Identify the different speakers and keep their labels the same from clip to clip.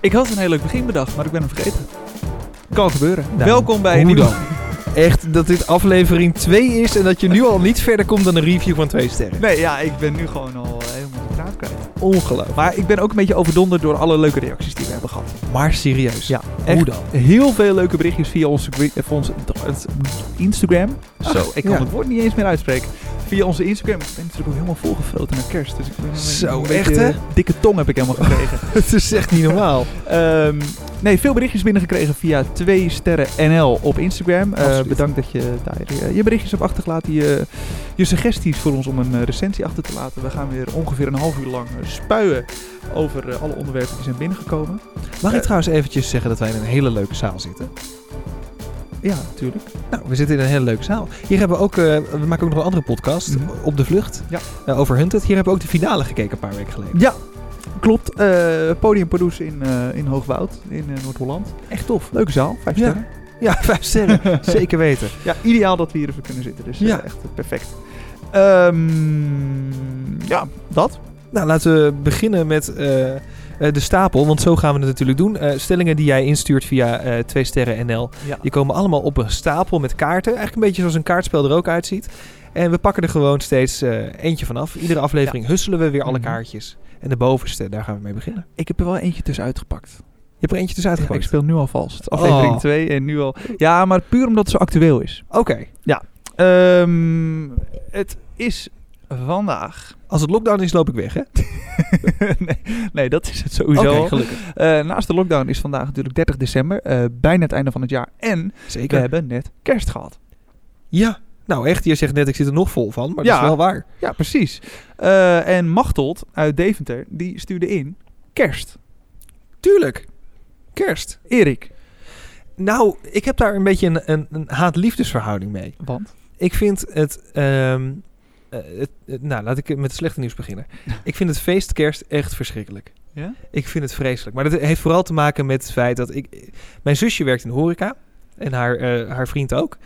Speaker 1: Ik had een heel leuk begin bedacht, maar ik ben hem vergeten. Kan gebeuren.
Speaker 2: Nou,
Speaker 1: Welkom bij een
Speaker 2: hoe
Speaker 1: nieuwe...
Speaker 2: dan? Echt dat dit aflevering 2 is en dat je nu al niet verder komt dan een review van 2 sterren.
Speaker 1: Nee, ja, ik ben nu gewoon al helemaal de draad kwijt.
Speaker 2: Ongelooflijk.
Speaker 1: Maar ik ben ook een beetje overdonderd door alle leuke reacties die we hebben gehad.
Speaker 2: Maar serieus.
Speaker 1: Ja,
Speaker 2: Hoe
Speaker 1: echt.
Speaker 2: dan?
Speaker 1: Heel veel leuke berichtjes via onze, gri- eh, van onze Instagram. Zo, ik kan
Speaker 2: ja.
Speaker 1: het woord niet eens meer uitspreken. Via onze Instagram. Ik ben natuurlijk ook helemaal volgevuld naar kerst. Dus ik ben een
Speaker 2: Zo,
Speaker 1: beetje-
Speaker 2: echt, hè?
Speaker 1: Dikke tong heb ik helemaal gekregen.
Speaker 2: Het is echt niet normaal.
Speaker 1: Ehm, nee, veel berichtjes binnengekregen via 2 sterren NL op Instagram. Eh,
Speaker 2: Absoluut.
Speaker 1: bedankt dat je daar eh, je berichtjes hebt achtergelaten. Je, je suggesties voor ons om een eh, recensie achter te laten. We gaan weer ongeveer een half uur lang eh, spuien over eh, alle onderwerpen die zijn binnengekomen.
Speaker 2: Mag ik
Speaker 1: Eh.
Speaker 2: trouwens eventjes zeggen dat wij in een hele leuke zaal zitten?
Speaker 1: Ja, natuurlijk.
Speaker 2: Nou, we zitten in een hele leuke zaal. Hier hebben we ook, eh, we maken ook nog een andere podcast,
Speaker 1: Mhm.
Speaker 2: Op de Vlucht,
Speaker 1: Ja.
Speaker 2: eh, over Hunted. Hier hebben we ook de finale gekeken een paar weken geleden.
Speaker 1: Ja, klopt. Eh, podium Pardoes in, eh, in Hoogwoud, in eh, Noord-Holland. Echt tof. Leuke zaal, vijf
Speaker 2: Ja.
Speaker 1: sterren.
Speaker 2: Ja, vijf sterren. Zeker weten.
Speaker 1: Ja, ideaal dat we hier even kunnen zitten. Dus eh,
Speaker 2: Ja.
Speaker 1: echt eh, perfect. Ehm, ja, dat.
Speaker 2: Nou, laten we beginnen met eh, eh, de stapel, want zo gaan we het natuurlijk doen. Eh, stellingen die jij instuurt via eh 2 sterren NL,
Speaker 1: Ja.
Speaker 2: die komen allemaal op een stapel met kaarten. Eigenlijk een beetje zoals een kaartspel er ook uitziet. En we pakken er gewoon steeds eh, eentje vanaf. Iedere aflevering husselen we weer alle
Speaker 1: Mhm.
Speaker 2: kaartjes. En de bovenste, daar gaan we mee beginnen.
Speaker 1: Ik heb er wel eentje tussenuit gepakt.
Speaker 2: Je hebt er eentje dus
Speaker 1: Ja,
Speaker 2: uitgepakt.
Speaker 1: ik speel nu al vals. Het is Aflevering
Speaker 2: Oh.
Speaker 1: 2 en nu al. Ja, maar puur omdat het zo actueel is.
Speaker 2: Oké,
Speaker 1: Ehm, het is vandaag.
Speaker 2: als het lockdown is, loop ik weg, hè?
Speaker 1: nee, nee, dat is het sowieso.
Speaker 2: Oké,
Speaker 1: al.
Speaker 2: gelukkig.
Speaker 1: Eh, naast de lockdown is vandaag natuurlijk 30 december. eh, bijna het einde van het jaar. En we
Speaker 2: Zeker.
Speaker 1: hebben net kerst gehad.
Speaker 2: Ja, nou echt, je zegt net ik zit er nog vol van, maar dat
Speaker 1: Ja.
Speaker 2: is wel waar.
Speaker 1: Ja, precies. Eh, en Machteld uit Deventer, die stuurde in kerst.
Speaker 2: Tuurlijk. Kerst.
Speaker 1: Erik.
Speaker 2: Nou, ik heb daar een beetje een, een, een haat-liefdesverhouding mee.
Speaker 1: Want?
Speaker 2: Ik vind het, ehm, eh, het- het- Nou, laat ik met het slechte nieuws beginnen. ik vind het feest kerst echt verschrikkelijk.
Speaker 1: Ja?
Speaker 2: Ik vind het vreselijk. Maar dat heeft vooral te maken met het feit dat ik... Mijn zusje werkt in de horeca. En haar, eh, haar vriend ook.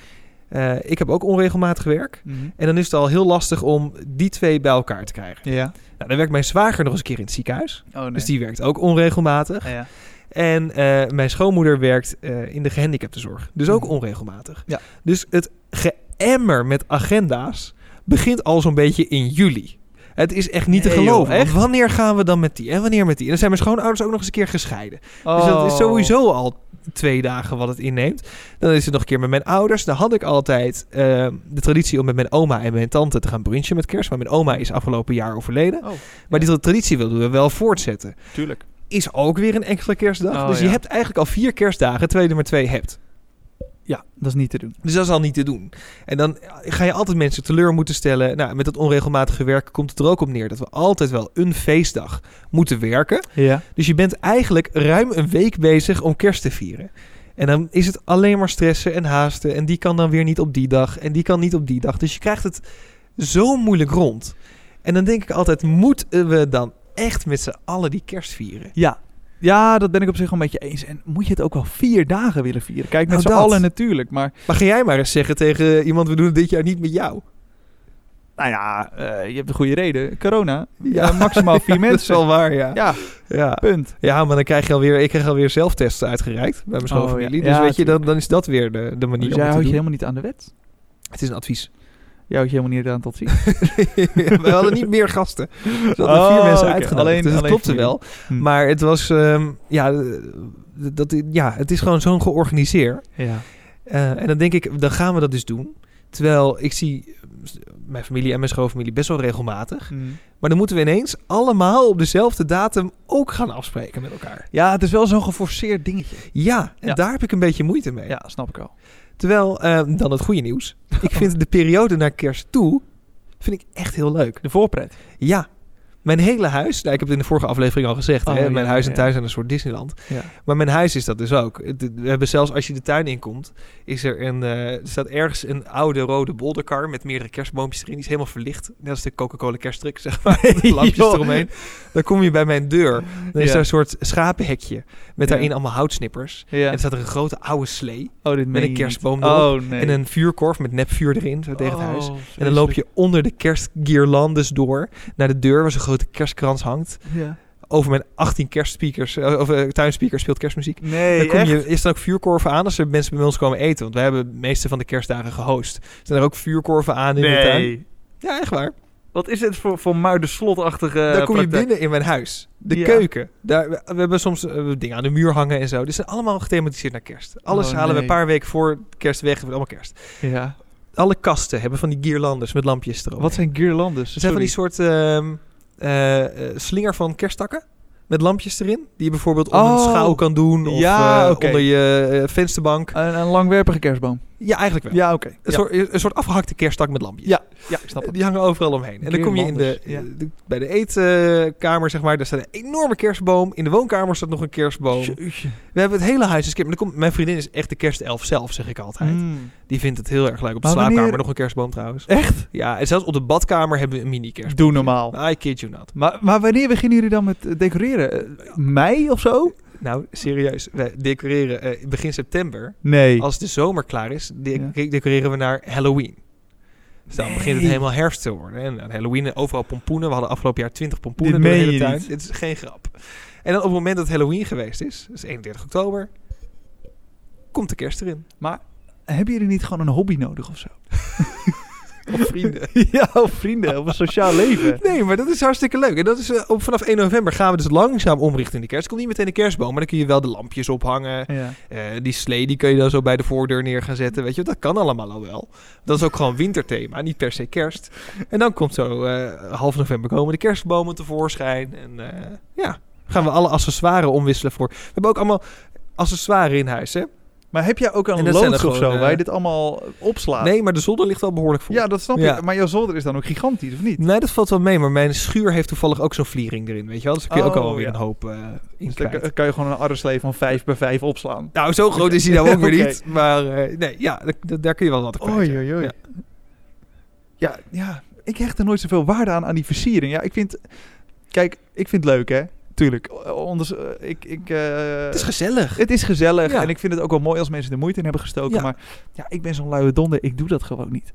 Speaker 2: Eh, ik heb ook onregelmatig werk.
Speaker 1: Mhm.
Speaker 2: En dan is het al heel lastig om die twee bij elkaar te krijgen.
Speaker 1: Ja.
Speaker 2: Nou, dan werkt mijn zwager nog eens een keer in het ziekenhuis.
Speaker 1: Oh, nee.
Speaker 2: Dus die werkt ook onregelmatig.
Speaker 1: ja.
Speaker 2: En eh, mijn schoonmoeder werkt eh, in de gehandicaptenzorg. Dus ook
Speaker 1: Mhm.
Speaker 2: onregelmatig.
Speaker 1: Ja.
Speaker 2: Dus het geëmmer met agenda's begint al zo'n beetje in juli. Het is echt niet te
Speaker 1: Nee, joh,
Speaker 2: geloven. Want
Speaker 1: echt?
Speaker 2: wanneer gaan we dan met die en wanneer met die? En dan zijn mijn schoonouders ook nog eens een keer gescheiden. Dus dat is
Speaker 1: Oh.
Speaker 2: sowieso al twee dagen wat het inneemt. Dan is het nog een keer met mijn ouders. Dan had ik altijd eh, de traditie om met mijn oma en mijn tante te gaan brunchen met kerst. Maar mijn oma is afgelopen jaar overleden.
Speaker 1: Oh,
Speaker 2: Maar die traditie wilden we wel voortzetten
Speaker 1: tuurlijk.
Speaker 2: is ook weer een extra kerstdag.
Speaker 1: Oh,
Speaker 2: dus je
Speaker 1: ja.
Speaker 2: hebt eigenlijk al vier kerstdagen, terwijl je er maar twee hebt.
Speaker 1: Ja, dat is niet te doen.
Speaker 2: Dus dat is al niet te doen. En dan ga je altijd mensen teleur moeten stellen. Nou, met dat onregelmatige werken komt het er ook op neer dat we altijd wel een feestdag moeten werken.
Speaker 1: Ja.
Speaker 2: Dus je bent eigenlijk ruim een week bezig om kerst te vieren. En dan is het alleen maar stressen en haasten. En die kan dan weer niet op die dag. En die kan niet op die dag. Dus je krijgt het zo moeilijk rond. En dan denk ik altijd, moeten we dan echt met z'n allen die kerst vieren?
Speaker 1: Ja. Ja, dat ben ik op zich wel een beetje eens. En moet je het ook wel vier dagen willen vieren? Kijk, met
Speaker 2: Nou,
Speaker 1: z'n
Speaker 2: dat.
Speaker 1: allen natuurlijk. Maar
Speaker 2: Maar ga jij maar eens zeggen tegen iemand, we doen het dit jaar niet met jou.
Speaker 1: nou ja, eh, je hebt een goede reden. Corona. Ja,
Speaker 2: Ja,
Speaker 1: maximaal vier
Speaker 2: Dat is
Speaker 1: mensen.
Speaker 2: wel waar, ja.
Speaker 1: Ja,
Speaker 2: Ja,
Speaker 1: punt.
Speaker 2: ja maar dan krijg je alweer, ik krijg alweer zelftests uitgereikt bij mijn
Speaker 1: Oh,
Speaker 2: schoonfamilie.
Speaker 1: ja.
Speaker 2: Dus
Speaker 1: Ja,
Speaker 2: weet je, dan, dan is dat weer de, de manier
Speaker 1: Dus
Speaker 2: om
Speaker 1: jij houdt
Speaker 2: het te
Speaker 1: je
Speaker 2: doen.
Speaker 1: helemaal niet aan de wet.
Speaker 2: Het is een advies.
Speaker 1: Jij houdt je helemaal niet aan tot zien.
Speaker 2: We hadden niet meer gasten. Dus We hadden
Speaker 1: Oh,
Speaker 2: vier mensen
Speaker 1: oké.
Speaker 2: uitgenodigd.
Speaker 1: Alleen-
Speaker 2: dus dat
Speaker 1: alleen
Speaker 2: klopte
Speaker 1: vier.
Speaker 2: wel.
Speaker 1: Hm.
Speaker 2: Maar het was, ehm, ja, eh, dat, ja, het is gewoon zo'n georganiseerd.
Speaker 1: Ja.
Speaker 2: Eh, en dan denk ik, dan gaan we dat dus doen. Terwijl ik zie eh, mijn familie en mijn schoonfamilie best wel regelmatig.
Speaker 1: Mm.
Speaker 2: Maar dan moeten we ineens allemaal op dezelfde datum ook gaan afspreken met elkaar.
Speaker 1: Ja, het is wel zo'n geforceerd dingetje.
Speaker 2: Ja, en
Speaker 1: Ja.
Speaker 2: daar heb ik een beetje moeite mee.
Speaker 1: Ja, snap ik al.
Speaker 2: Terwijl, eh, dan het goede nieuws. Ik vind de periode naar kerst toe, vind ik echt heel leuk.
Speaker 1: De voorpret.
Speaker 2: Ja, mijn hele huis, nou, ik heb het in de vorige aflevering al gezegd.
Speaker 1: Oh,
Speaker 2: hè,
Speaker 1: ja,
Speaker 2: mijn huis en
Speaker 1: ja.
Speaker 2: thuis zijn een soort Disneyland.
Speaker 1: Ja.
Speaker 2: Maar mijn huis is dat dus ook. Het- We hebben zelfs, als je de tuin inkomt, is er een, eh, er staat ergens een oude rode bolderkar met meerdere kerstboompjes erin. Die is helemaal verlicht. Net als de Coca-Cola kerstdruk, zeg maar. Met lampjes
Speaker 1: Joh.
Speaker 2: eromheen. Dan kom je bij mijn deur. Dan is
Speaker 1: Ja.
Speaker 2: daar een soort schapenhekje met
Speaker 1: Ja.
Speaker 2: daarin allemaal houtsnippers. En er staat er een grote oude slee
Speaker 1: Oh, dit meen
Speaker 2: een
Speaker 1: je
Speaker 2: kerstboom
Speaker 1: niet.
Speaker 2: erop
Speaker 1: Oh, nee.
Speaker 2: en een vuurkorf met nepvuur erin, zo tegen het huis.
Speaker 1: Oh,
Speaker 2: En dan loop je onder de kerstguirlandes door naar de deur waar zo'n grote kerstkrans hangt.
Speaker 1: vreselijk. Ja.
Speaker 2: over mijn 18 kerstspeakers, eh, of eh, tuinspeakers speelt kerstmuziek.
Speaker 1: Nee,
Speaker 2: Dan kom
Speaker 1: echt?
Speaker 2: je, is dan ook vuurkorven aan als er mensen bij ons komen eten. Want wij hebben de meeste van de kerstdagen gehost. Zijn er ook vuurkorven aan in de tuin?
Speaker 1: nee.
Speaker 2: Ja, echt waar.
Speaker 1: Wat is het voor, voor muiderslotachtige
Speaker 2: dan kom je
Speaker 1: Eh, praktijk?
Speaker 2: binnen in mijn huis. De
Speaker 1: Ja.
Speaker 2: keuken. Daar, we, we hebben soms eh, dingen aan de muur hangen en zo. Dit zijn allemaal gethematiseerd naar kerst. Alles
Speaker 1: Oh,
Speaker 2: halen we
Speaker 1: nee.
Speaker 2: een paar weken voor kerst weg. Het wordt allemaal kerst.
Speaker 1: Ja.
Speaker 2: Alle kasten hebben van die guirlandes met lampjes erop.
Speaker 1: Wat zijn guirlandes?
Speaker 2: Er zijn van die
Speaker 1: Sorry.
Speaker 2: soort ehm, eh, eh, slinger van kersttakken. Met lampjes erin. Die je bijvoorbeeld om een
Speaker 1: Oh.
Speaker 2: schouw kan doen. Of
Speaker 1: Ja,
Speaker 2: eh,
Speaker 1: oké.
Speaker 2: onder je eh, vensterbank.
Speaker 1: Een, een langwerpige kerstboom.
Speaker 2: Ja, eigenlijk wel.
Speaker 1: Ja, oké.
Speaker 2: Een,
Speaker 1: Ja.
Speaker 2: soort, een soort afgehakte kersttak met lampjes.
Speaker 1: Ja. ja, ik snap
Speaker 2: Eh,
Speaker 1: het.
Speaker 2: Die hangen overal omheen. En dan kom je in de, eh,
Speaker 1: Guirlandes,
Speaker 2: de- bij de eetkamer, zeg maar. Daar staat een enorme kerstboom. In de woonkamer staat nog een kerstboom.
Speaker 1: Jeetje.
Speaker 2: We hebben het hele huis is kerst. Maar dan komt, mijn vriendin is echt de kerstelf zelf, zeg ik altijd.
Speaker 1: Mm.
Speaker 2: Die vindt het heel erg leuk. Op de
Speaker 1: Maar wanneer-
Speaker 2: slaapkamer nog een kerstboom trouwens.
Speaker 1: Echt?
Speaker 2: Ja, en zelfs op de badkamer hebben we een mini-kerstboom.
Speaker 1: Doe normaal.
Speaker 2: I kid you not.
Speaker 1: Maar, maar wanneer beginnen jullie dan met eh, decoreren? Eh, mei of zo?
Speaker 2: Nou, serieus. We decoreren eh, begin september.
Speaker 1: Nee.
Speaker 2: Als de zomer klaar is, de-
Speaker 1: Ja.
Speaker 2: decoreren we naar Halloween. Dus dan begint het
Speaker 1: Nee.
Speaker 2: helemaal herfst te worden. En aan Halloween en overal pompoenen. We hadden afgelopen jaar 20 pompoenen
Speaker 1: Dit
Speaker 2: door de
Speaker 1: meen
Speaker 2: hele
Speaker 1: je
Speaker 2: tuin.
Speaker 1: niet.
Speaker 2: Dit is geen grap. En dan op het moment dat Halloween geweest is, dus 31 oktober, komt de kerst erin.
Speaker 1: Hebben jullie niet gewoon een hobby nodig of zo?
Speaker 2: Of vrienden.
Speaker 1: ja, of vrienden, of een sociaal leven.
Speaker 2: Nee, maar dat is hartstikke leuk. En dat is, eh, op, vanaf 1 november gaan we dus langzaam omrichten in de kerst. Komt niet meteen de kerstboom, maar dan kun je wel de lampjes ophangen.
Speaker 1: Ja.
Speaker 2: Eh, die slee die kun je dan zo bij de voordeur neer gaan zetten. Weet je, dat kan allemaal al wel. Dat is ook gewoon winterthema, niet per se kerst. En dan komt zo eh, half november komen de kerstbomen tevoorschijn. En eh, ja, gaan we alle accessoires omwisselen voor. We hebben ook allemaal accessoires in huis, hè?
Speaker 1: Maar heb jij ook
Speaker 2: En
Speaker 1: een
Speaker 2: dat zijn
Speaker 1: loods
Speaker 2: er
Speaker 1: of zo
Speaker 2: gewoon, eh,
Speaker 1: waar je dit allemaal opslaat?
Speaker 2: Nee, maar de zolder ligt wel behoorlijk vol.
Speaker 1: Ja, dat snap
Speaker 2: Ja.
Speaker 1: ik. Maar jouw zolder is dan ook gigantisch, of niet?
Speaker 2: Nee, dat valt wel mee, maar mijn schuur heeft toevallig ook zo'n vliering erin, weet je wel? Dus daar kun je ook
Speaker 1: Oh,
Speaker 2: alweer weer
Speaker 1: ja.
Speaker 2: een hoop eh in
Speaker 1: Dus dan
Speaker 2: kwijt.
Speaker 1: kan- kan je gewoon een arreslee van 5 bij 5 opslaan.
Speaker 2: Nou, zo groot is hij nou ook weer
Speaker 1: Oké.
Speaker 2: niet. Maar eh, nee, ja, d- d- daar kun je wel wat kwijt. ja.
Speaker 1: oei. Ja. ja, ja, ik hecht er nooit zoveel waarde aan, aan die versiering. Ja, ik vind... Kijk, ik vind het leuk, hè? Tuurlijk. O- Anders, eh, ik... ik eh,
Speaker 2: Het is gezellig.
Speaker 1: het is gezellig
Speaker 2: Ja.
Speaker 1: en ik vind het ook wel mooi als mensen er moeite in hebben gestoken.
Speaker 2: Ja.
Speaker 1: Maar ja, ik ben zo'n luie donder, ik doe dat gewoon niet.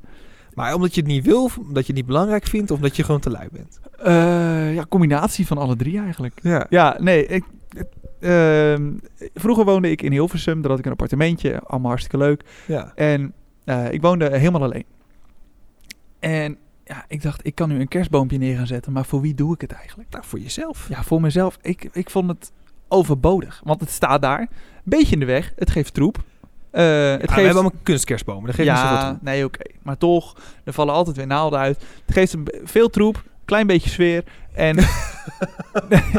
Speaker 2: Maar omdat je het niet wil, of omdat je het niet belangrijk vindt, of omdat je gewoon te lui bent.
Speaker 1: Eh, ja, combinatie van alle drie eigenlijk.
Speaker 2: Ja.
Speaker 1: Ja, nee. Ik, het- ehm, vroeger woonde ik in Hilversum. Daar had ik een appartementje. Allemaal hartstikke leuk.
Speaker 2: ja.
Speaker 1: En eh, ik woonde helemaal alleen. En ja, ik dacht, ik kan nu een kerstboompje neer gaan zetten. Maar voor wie doe ik het eigenlijk?
Speaker 2: Nou, voor jezelf.
Speaker 1: Ja, voor mezelf. Ik, ik vond het overbodig. Want het staat daar. Beetje in de weg. Het geeft troep. Eh, het
Speaker 2: Ah, We hebben allemaal kunstkerstbomen, dat geeft niet zoveel
Speaker 1: ja,
Speaker 2: toe.
Speaker 1: nee, oké. Maar toch, er vallen altijd weer naalden uit. Het geeft een, be- veel troep, klein beetje sfeer. En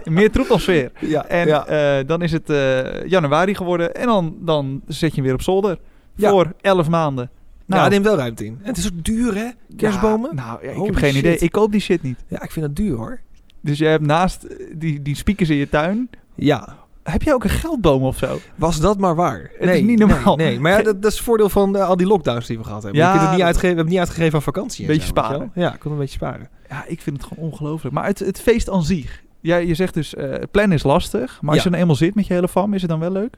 Speaker 1: meer troep dan sfeer.
Speaker 2: Ja,
Speaker 1: En
Speaker 2: ja.
Speaker 1: eh, dan is het eh, januari geworden. En dan, dan zet je hem weer op zolder.
Speaker 2: Ja.
Speaker 1: Voor 11 maanden.
Speaker 2: Nou, het neemt wel ruimte in. En het is ook duur, hè? Kerstbomen? Ja,
Speaker 1: Ja, nou, ja, ik
Speaker 2: Holy
Speaker 1: heb geen
Speaker 2: shit.
Speaker 1: idee. Ik koop die shit niet.
Speaker 2: ik vind dat duur, hoor.
Speaker 1: Dus je hebt naast eh, die, die speakers in je tuin.
Speaker 2: Ja,
Speaker 1: Heb jij ook een geldboom of zo?
Speaker 2: was dat maar waar.
Speaker 1: Het is niet normaal.
Speaker 2: Nee, nee. maar ja, dat, dat is het voordeel van eh, al die lockdowns die we gehad hebben.
Speaker 1: Ja,
Speaker 2: je kunt het niet
Speaker 1: dat-
Speaker 2: uitgeven, we hebben het niet uitgegeven aan vakantie. en
Speaker 1: Beetje
Speaker 2: zo, weet je
Speaker 1: sparen.
Speaker 2: wel. Ja, ik kon een beetje sparen.
Speaker 1: Ja, ik vind het gewoon ongelooflijk. Maar het, het feest aan zich. Ja, je zegt dus, eh plannen is lastig. Maar als
Speaker 2: Ja.
Speaker 1: je dan eenmaal zit met je hele fam, is het dan wel leuk?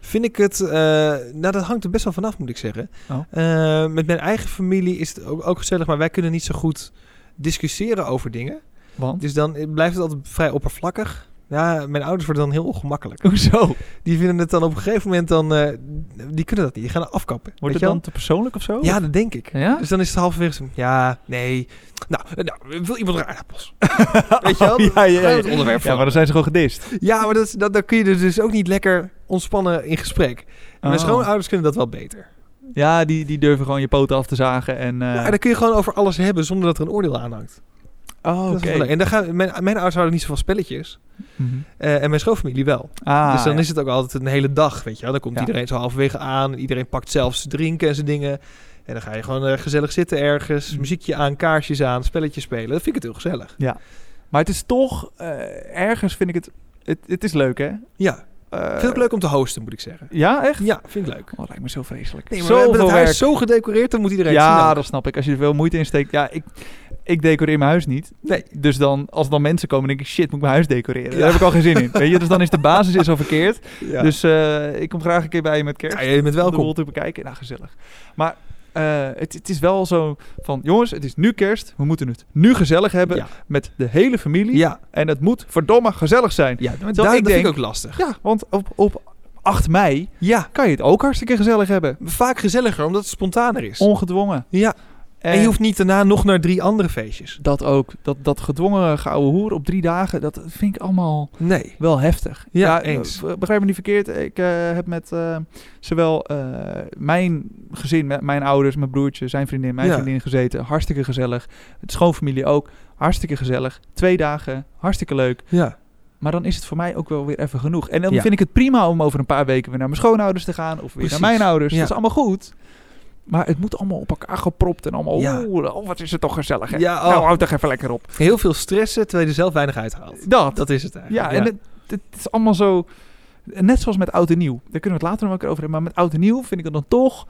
Speaker 2: Vind ik het... eh, nou, dat hangt er best wel vanaf, moet ik zeggen.
Speaker 1: Oh.
Speaker 2: Eh, met mijn eigen familie is het ook, ook gezellig, maar wij kunnen niet zo goed discussiëren over dingen.
Speaker 1: Want?
Speaker 2: Dus dan blijft het altijd vrij oppervlakkig. Ja, mijn ouders worden dan heel ongemakkelijk.
Speaker 1: Hoezo?
Speaker 2: Die vinden het dan op een gegeven moment dan... eh, die kunnen dat niet, die gaan het afkappen. Weet
Speaker 1: Wordt het
Speaker 2: je wel?
Speaker 1: dan te persoonlijk of zo?
Speaker 2: Ja, dat denk ik.
Speaker 1: Ja?
Speaker 2: Dus dan is het halverwege zo, ja, nee. Nou, nou wil iemand een aardappels? Weet je wel?
Speaker 1: Oh, ja, ja, ja.
Speaker 2: Het onderwerp
Speaker 1: ja,
Speaker 2: van.
Speaker 1: maar dan zijn ze gewoon gedist.
Speaker 2: Ja, maar dat, is- dat, daar kun je dus- dus ook niet lekker ontspannen in gesprek. En Mijn
Speaker 1: Oh.
Speaker 2: schoonouders kunnen dat wel beter.
Speaker 1: Ja, die, die durven gewoon je poten af te zagen. En, eh,
Speaker 2: Ja, en dan kun je gewoon over alles hebben zonder dat er een oordeel aan hangt.
Speaker 1: Oh,
Speaker 2: Dat is
Speaker 1: oké.
Speaker 2: wel leuk. En dan gaan, mijn, mijn ouders houden niet zo van spelletjes.
Speaker 1: Mhm.
Speaker 2: Eh, en mijn schoonfamilie wel.
Speaker 1: Ah,
Speaker 2: dus dan
Speaker 1: ja.
Speaker 2: is het ook altijd een hele dag, weet je wel. Dan komt
Speaker 1: Ja.
Speaker 2: iedereen zo halverwege aan. Iedereen pakt zelfs drinken en zijn dingen. En dan ga je gewoon eh, gezellig zitten ergens.
Speaker 1: Mm.
Speaker 2: Muziekje aan, kaarsjes aan, spelletjes spelen. Dat vind ik het heel gezellig.
Speaker 1: Maar het is toch, eh, ergens vind ik het, het, het is leuk hè?
Speaker 2: Ja,
Speaker 1: Eh,
Speaker 2: vind ik ook leuk om te hosten, moet ik zeggen.
Speaker 1: Ja, echt?
Speaker 2: Ja, vind ik leuk.
Speaker 1: Oh, lijkt me zo vreselijk.
Speaker 2: Nee, maar we
Speaker 1: Zoveel
Speaker 2: hebben het
Speaker 1: werk.
Speaker 2: huis zo gedecoreerd, dan moet iedereen het zien
Speaker 1: Ja,
Speaker 2: ook.
Speaker 1: dat snap ik. Als je er veel moeite in steekt. Ja, ik, ik decoreer mijn huis niet.
Speaker 2: Nee.
Speaker 1: Dus dan, als er dan mensen komen, denk ik, shit, moet ik mijn huis decoreren?
Speaker 2: Ja.
Speaker 1: Daar heb ik al geen zin in. Weet je? Dus dan is de basis is al verkeerd.
Speaker 2: Ja.
Speaker 1: Dus eh, ik kom graag een keer bij je met kerst.
Speaker 2: Ja, je bent
Speaker 1: Om de
Speaker 2: welkom.
Speaker 1: rol te bekijken. Nou, gezellig. Maar eh, het, het is wel zo van, jongens, het is nu kerst. We moeten het nu gezellig hebben
Speaker 2: Ja.
Speaker 1: met de hele familie.
Speaker 2: Ja,
Speaker 1: En het moet verdomme gezellig zijn.
Speaker 2: ja maar
Speaker 1: ik
Speaker 2: dat, dat vind
Speaker 1: denk-
Speaker 2: ik ook lastig.
Speaker 1: Ja, want op, op 8 mei
Speaker 2: Ja,
Speaker 1: kan je het ook hartstikke gezellig hebben.
Speaker 2: vaak gezelliger omdat het spontaner is.
Speaker 1: Ongedwongen.
Speaker 2: ja, en, je hoeft niet daarna nog naar drie andere feestjes.
Speaker 1: dat ook. Dat, dat gedwongen gouden hoer op drie dagen, dat vind ik allemaal
Speaker 2: Nee.
Speaker 1: wel heftig.
Speaker 2: Ja, eens.
Speaker 1: eh, Begrijp me niet verkeerd. Ik eh, heb met eh, zowel eh, mijn gezin, met mijn ouders, mijn broertje, zijn vriendin, mijn
Speaker 2: Ja.
Speaker 1: vriendin gezeten. Hartstikke gezellig. Het schoonfamilie ook. Hartstikke gezellig. Twee dagen. Hartstikke leuk.
Speaker 2: Ja.
Speaker 1: Maar dan is het voor mij ook wel weer even genoeg. En dan
Speaker 2: Ja.
Speaker 1: vind ik het prima om over een paar weken weer naar mijn schoonouders te gaan. Of weer
Speaker 2: Precies.
Speaker 1: naar mijn ouders.
Speaker 2: Ja.
Speaker 1: Dat is allemaal goed. Maar het moet allemaal op elkaar gepropt en allemaal.
Speaker 2: Ja.
Speaker 1: Oeh, oh, wat is het toch gezellig. Hè?
Speaker 2: Ja, oh.
Speaker 1: Nou, houd toch even lekker op.
Speaker 2: Heel veel stressen terwijl je er zelf weinig uithaalt.
Speaker 1: Dat.
Speaker 2: Dat is het eigenlijk.
Speaker 1: ja, en het, het is allemaal zo. Net zoals met oud en nieuw. Daar kunnen we het later nog wel een keer over hebben. Maar met oud en nieuw vind ik het dan toch.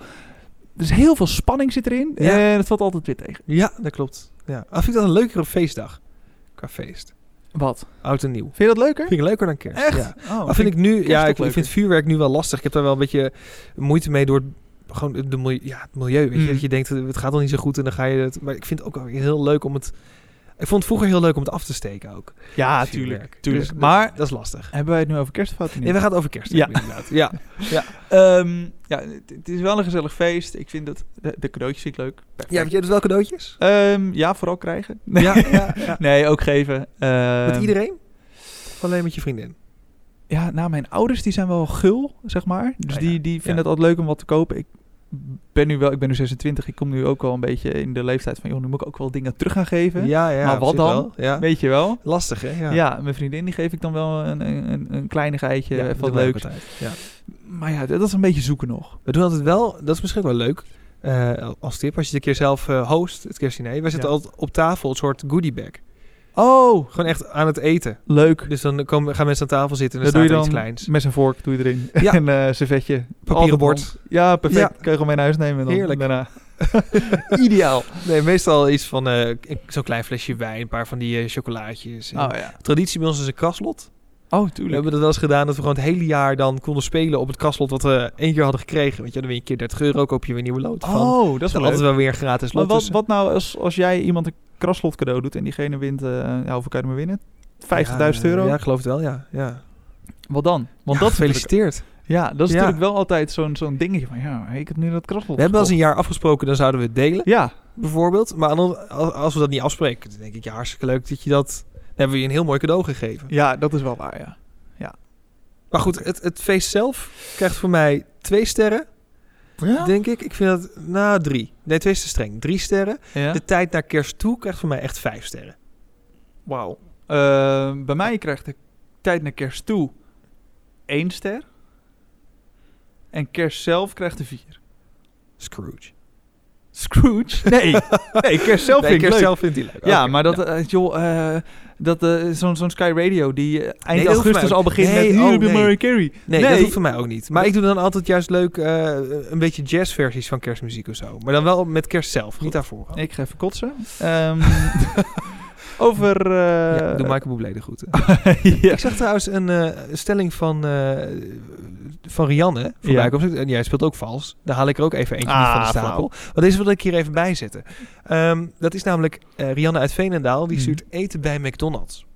Speaker 1: Er is heel veel spanning zit erin.
Speaker 2: Ja.
Speaker 1: En het valt altijd weer tegen.
Speaker 2: Ja, dat klopt. Ja. Al vind ik dat een leukere feestdag. Qua feest.
Speaker 1: Wat?
Speaker 2: Oud en nieuw.
Speaker 1: Vind je dat leuker?
Speaker 2: Vind ik leuker dan kerst.
Speaker 1: Echt?
Speaker 2: Ja.
Speaker 1: Oh,
Speaker 2: Maar vind ik nu,
Speaker 1: kerst
Speaker 2: ja,
Speaker 1: toch
Speaker 2: ik, ik
Speaker 1: leuker?
Speaker 2: vind vuurwerk nu wel lastig. Ik heb daar wel een beetje moeite mee door gewoon de milieu, ja, het milieu. Weet je,
Speaker 1: Mm.
Speaker 2: dat je denkt, eh, het gaat al niet zo goed en dan ga je het. Maar ik vind het ook wel weer heel leuk om het. Ik vond het vroeger heel leuk om het af te steken ook.
Speaker 1: Ja,
Speaker 2: Vuurwerk.
Speaker 1: tuurlijk. tuurlijk.
Speaker 2: Dus,
Speaker 1: maar
Speaker 2: dat is lastig.
Speaker 1: hebben wij het nu over kerstfouten?
Speaker 2: Nee, we gaan het over kerst.
Speaker 1: Ja.
Speaker 2: hebben, inderdaad. Ja.
Speaker 1: Ehm, ja, het, het is wel een gezellig feest. Ik vind dat de, de cadeautjes vind ik leuk.
Speaker 2: ja, jij dus wel cadeautjes?
Speaker 1: Ehm, ja, vooral krijgen. Nee,
Speaker 2: Ja, ja, ja.
Speaker 1: nee ook geven. Ehm,
Speaker 2: Met iedereen? Of alleen met je vriendin?
Speaker 1: Ja, nou, mijn ouders die zijn wel gul, zeg maar. Dus
Speaker 2: Ah, ja.
Speaker 1: die, die vinden
Speaker 2: Ja.
Speaker 1: het altijd leuk om wat te kopen. Ik ben nu wel, ik ben nu 26. Ik kom nu ook wel een beetje in de leeftijd van, joh, nu moet ik ook wel dingen terug gaan geven.
Speaker 2: Ja, ja.
Speaker 1: Maar
Speaker 2: op
Speaker 1: wat
Speaker 2: zich
Speaker 1: dan?
Speaker 2: wel. Ja.
Speaker 1: Weet je wel?
Speaker 2: Lastig, hè?
Speaker 1: Ja. mijn vriendin die geef ik dan wel een, een, een kleinigheidje
Speaker 2: Ja, dat
Speaker 1: van
Speaker 2: doen wij ook
Speaker 1: leuks.
Speaker 2: altijd. Ja.
Speaker 1: Maar ja, dat is een beetje zoeken nog.
Speaker 2: We doen altijd wel, dat is misschien wel leuk eh, als tip, als je het een keer zelf eh, host, het kerstdiner. Wij zetten
Speaker 1: Ja.
Speaker 2: altijd op tafel een soort goodie bag.
Speaker 1: Oh,
Speaker 2: Gewoon echt aan het eten.
Speaker 1: leuk.
Speaker 2: Dus dan komen, gaan mensen aan tafel zitten en
Speaker 1: Dat
Speaker 2: dan
Speaker 1: doe je
Speaker 2: staat er
Speaker 1: dan
Speaker 2: iets kleins.
Speaker 1: met zijn vork doe je erin.
Speaker 2: Ja.
Speaker 1: en eh servetje.
Speaker 2: Papieren
Speaker 1: Altijd
Speaker 2: bord.
Speaker 1: Ja, perfect.
Speaker 2: Ja.
Speaker 1: Kun je gewoon mee naar huis nemen dan.
Speaker 2: Heerlijk.
Speaker 1: Daarna. Ideaal.
Speaker 2: Nee, meestal iets van eh, k- zo'n klein flesje wijn, een paar van die eh, chocolaatjes. En
Speaker 1: Oh ja.
Speaker 2: Traditie bij ons is een kraslot.
Speaker 1: Oh,
Speaker 2: We
Speaker 1: tuurlijk.
Speaker 2: hebben dat wel eens gedaan dat we gewoon het hele jaar dan konden spelen op het kraslot wat we één keer hadden gekregen. Want je dan weer een keer 30 euro, koop je weer nieuwe loten van.
Speaker 1: Oh, dat
Speaker 2: dat
Speaker 1: is
Speaker 2: is
Speaker 1: wel leuk.
Speaker 2: altijd wel weer een gratis
Speaker 1: Maar
Speaker 2: lot. dus-
Speaker 1: wat,
Speaker 2: tussen.
Speaker 1: wat nou als, als jij iemand een kraslot cadeau doet en diegene wint, eh ja, hoeveel kan je maar winnen? 50.000
Speaker 2: Ja,
Speaker 1: euro?
Speaker 2: Ja, ik geloof het wel, ja. ja.
Speaker 1: Wat dan? Want
Speaker 2: Ja,
Speaker 1: dat is natuurlijk-
Speaker 2: gefeliciteerd.
Speaker 1: Ja, dat is
Speaker 2: Ja.
Speaker 1: natuurlijk wel altijd zo'n zo'n dingetje van, ja, ik heb nu dat kraslot
Speaker 2: We hebben wel eens
Speaker 1: gekocht.
Speaker 2: een jaar afgesproken, dan zouden we het delen,
Speaker 1: Ja,
Speaker 2: bijvoorbeeld. Maar dan- als als we dat niet afspreken, dan denk ik, ja, hartstikke leuk dat je dat... Dan hebben we je een heel mooi cadeau gegeven.
Speaker 1: ja, dat is wel waar, ja.
Speaker 2: Maar goed, het, het feest zelf krijgt voor mij twee sterren, denk ik. Ik vind dat, nou, drie. Nee, twee is te streng. Drie sterren.
Speaker 1: Ja?
Speaker 2: De tijd naar kerst toe krijgt voor mij echt vijf sterren.
Speaker 1: Wauw. Eh, bij mij krijgt de tijd naar kerst toe één ster. En kerst zelf krijgt de vier.
Speaker 2: Scrooge.
Speaker 1: Scrooge? Nee, nee kerst zelf
Speaker 2: Nee,
Speaker 1: vind ik
Speaker 2: kerst
Speaker 1: leuk.
Speaker 2: zelf vindt hij leuk.
Speaker 1: Ja,
Speaker 2: Oké. nou.
Speaker 1: maar dat,
Speaker 2: Ja.
Speaker 1: eh, joh, eh, dat, eh, zo'n zo'n Sky Radio die eh, eind
Speaker 2: Nee, dat hoeft mij
Speaker 1: augustus
Speaker 2: ook-
Speaker 1: al begint
Speaker 2: Nee,
Speaker 1: met Hier
Speaker 2: oh,
Speaker 1: heb je
Speaker 2: nee.
Speaker 1: Mariah Carey.
Speaker 2: Nee,
Speaker 1: nee.
Speaker 2: dat hoeft voor mij ook niet. Maar ik doe dan altijd juist leuk eh, een beetje jazzversies van kerstmuziek of zo. Maar dan wel met kerst zelf, niet daarvoor.
Speaker 1: Ik ga even kotsen. Ehm, over... eh,
Speaker 2: ja, doe Michael Bublé de groeten.
Speaker 1: ja.
Speaker 2: Ik zag trouwens een eh, stelling van, eh, van Rianne voorbij
Speaker 1: Ja.
Speaker 2: komen. En jij speelt ook vals. Daar haal ik er ook even eentje
Speaker 1: Ah,
Speaker 2: niet van de stapel. Maar deze wil ik hier even bijzetten. Ehm, dat is namelijk eh, Rianne uit Veenendaal. Die
Speaker 1: Mhm.
Speaker 2: stuurt eten bij McDonald's.